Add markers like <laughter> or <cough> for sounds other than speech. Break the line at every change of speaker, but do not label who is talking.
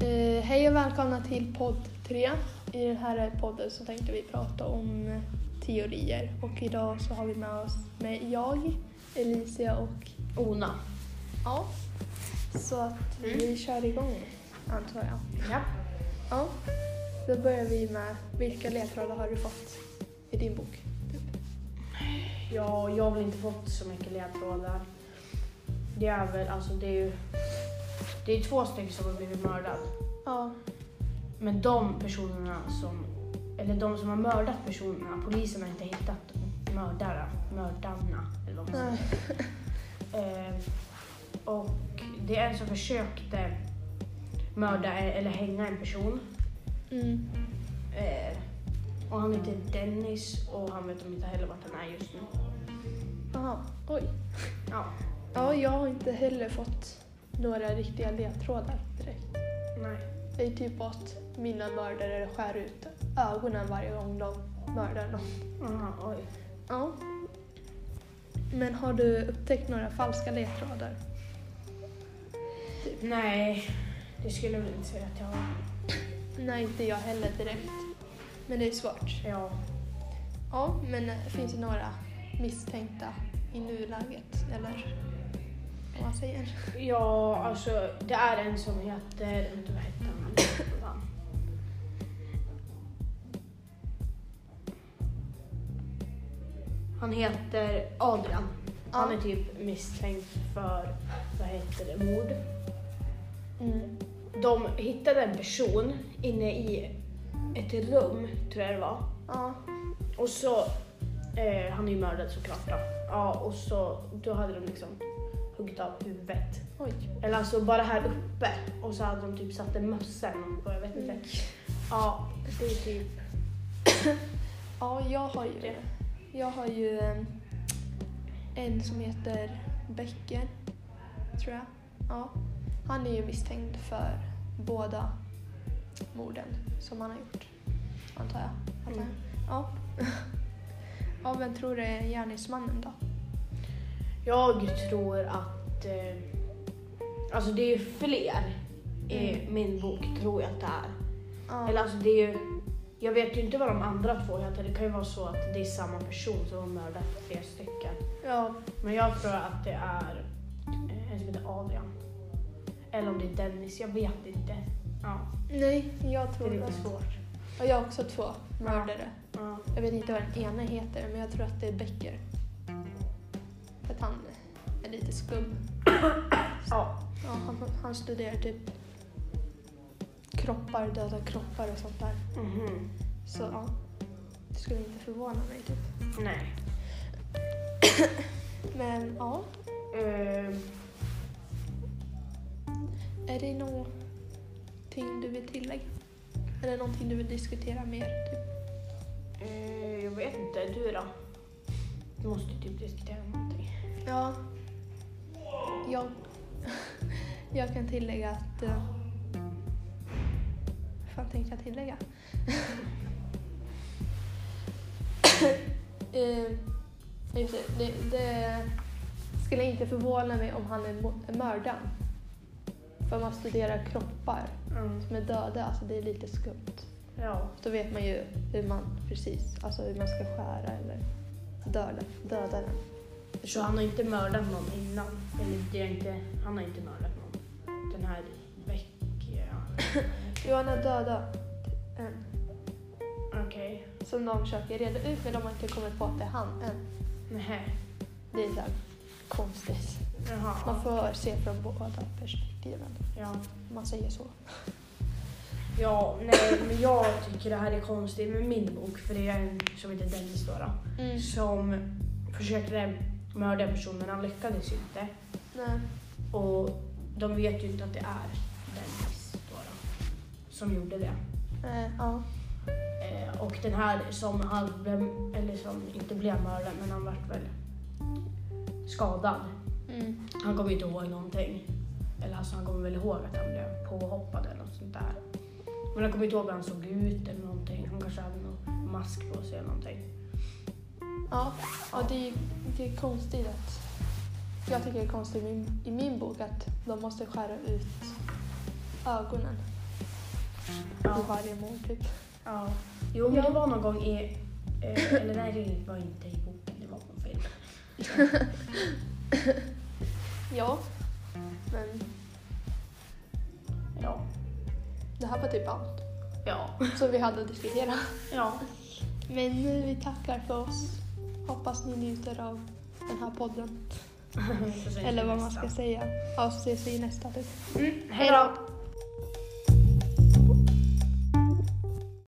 Eh, Hej och välkomna till podd 3. I den här podden så tänkte vi prata om teorier och idag så har vi med oss med jag, Elisia och
Ona.
ja. Så att vi kör igång antar jag.
Ja.
Ja. Då börjar vi med vilka ledtrådar har du fått i din bok?
ja, jag har väl inte fått så mycket ledtrådar. Det är väl, alltså det är ju... Det är två stycken som har blivit mördade.
Ja.
Men de personerna som... Eller de som har mördat personerna, polisen har inte hittat mördaren, mördarna. Eller vad man säger.
Nej.
Eh, och det är en som försökte mörda eller hänga en person.
Mm.
Eh, och han heter Dennis och han vet inte heller vart han är just nu.
Aha. Oj.
Ja,
Ja, jag har inte heller fått några riktiga ledtrådar direkt.
nej.
Det är typ att mina mördare skär ut ögonen varje gång de mördar någon.
Aha, oj.
Ja. Men har du upptäckt några falska ledtrådar?
Nej, det skulle jag väl inte säga att jag har.
Nej, inte jag heller direkt. Men det är svårt.
Ja,
Ja, men eh, finns det några misstänkta i nuläget? Eller vad man säger?
ja alltså det är en som heter, vänta, vad hette han? Vad fan? Han heter Adrian. Han
Ja.
är typ misstänkt för, vad heter det, mord.
Mm.
De hittade en person inne i ett rum, tror jag det var.
Ja.
Och så, eh, han är ju mördad såklart då. Ja, och så, då hade de liksom huggit av huvudet.
Oj.
Eller alltså bara här uppe. Och så hade de typ satt en mössa på, jag vet inte.
Mm.
Ja, det är typ,
Ja, jag har ju Jag har ju eh, en som heter Becker, tror jag. Ja. Han är ju misstänkt för båda morden som han har gjort, antar jag. Antar jag.
Mm.
Ja. <laughs> ja, vem tror du är gärningsmannen då?
jag tror att, eh, alltså det är ju fler i
Mm.
min bok tror jag att det är.
Ja.
Eller alltså det är ju, jag vet ju inte vad de andra två heter. Det kan ju vara så att det är samma person som har mördat tre stycken.
ja.
Men jag tror att det är eh, en som heter Adrian. Eller om det är Dennis, jag vet inte. Ja,
Nej, jag
det är
tror
lite
det.
svårt.
Och jag har också två mördare.
Ja.
Jag vet inte vad den ena heter, men jag tror att det är Becker. För att han är lite skum.
ja.
Ja, han, han studerar typ kroppar, döda kroppar och sånt där.
Mhm.
Så ja, det skulle inte förvåna mig typ.
Nej.
Men ja,
Eh,
är det någonting du vill tillägga? Eller någonting du vill diskutera mer? Typ?
eh, jag vet inte, du då? Du måste typ diskutera någonting.
Ja, jag, jag kan tillägga att... eh, Vad fan tänkte jag tillägga? <coughs> Eh, just det, det, det skulle inte förvåna mig om han är mo- mördaren. För man studerar kroppar
Mm.
som är döda, alltså det är lite skumt.
Ja.
Då vet man ju hur man precis, alltså hur man ska skära eller döda, döda den.
Så han har inte mördat någon innan? Eller det är inte, han har inte mördat någon? Den här veckan?
Johan har dödat en
Okej.
som de försöker reda ut men de har inte kommit på att det är han än.
Nähä.
Det är så här konstigt.
Jaha.
Man får se från båda perspektiven,
Ja.
om man säger så.
Ja, nej, men jag tycker det här är konstigt med min bok, för det är en som heter Dennis då, då
Mm.
som försökte mörda en person men han lyckades ju inte.
Nej.
Och de vet ju inte att det är Dennis då, då som gjorde det.
Eh, ja.
Eh, och den här som han blev, eller som inte blev mördad, men han vart väl skadad.
Mm.
Han kommer ju inte ihåg någonting. Eller alltså han kommer väl ihåg att han blev påhoppad eller något sånt där. Men han kommer inte ihåg hur han såg ut eller någonting. Han kanske hade någon mask på sig eller någonting.
Ja, ja det, är, det är konstigt att... Jag tycker det är konstigt i min, i min bok att de måste skära ut ögonen.
Ja.
på varje mål typ.
Ja. Jo, men
Ja.
det var någon gång i... Eh, eller nej, det var inte i boken. Det var på en film.
Ja, men
Ja.
det här var typ allt
Ja.
som vi hade att diskutera.
Ja. <laughs>
Men eh, vi tackar för oss. Hoppas ni njuter av den här podden.
Så ses vi
Eller vad man
nästa.
ska säga. Ja, så ses vi i nästa typ.
Mm, hej
Hej då!
då!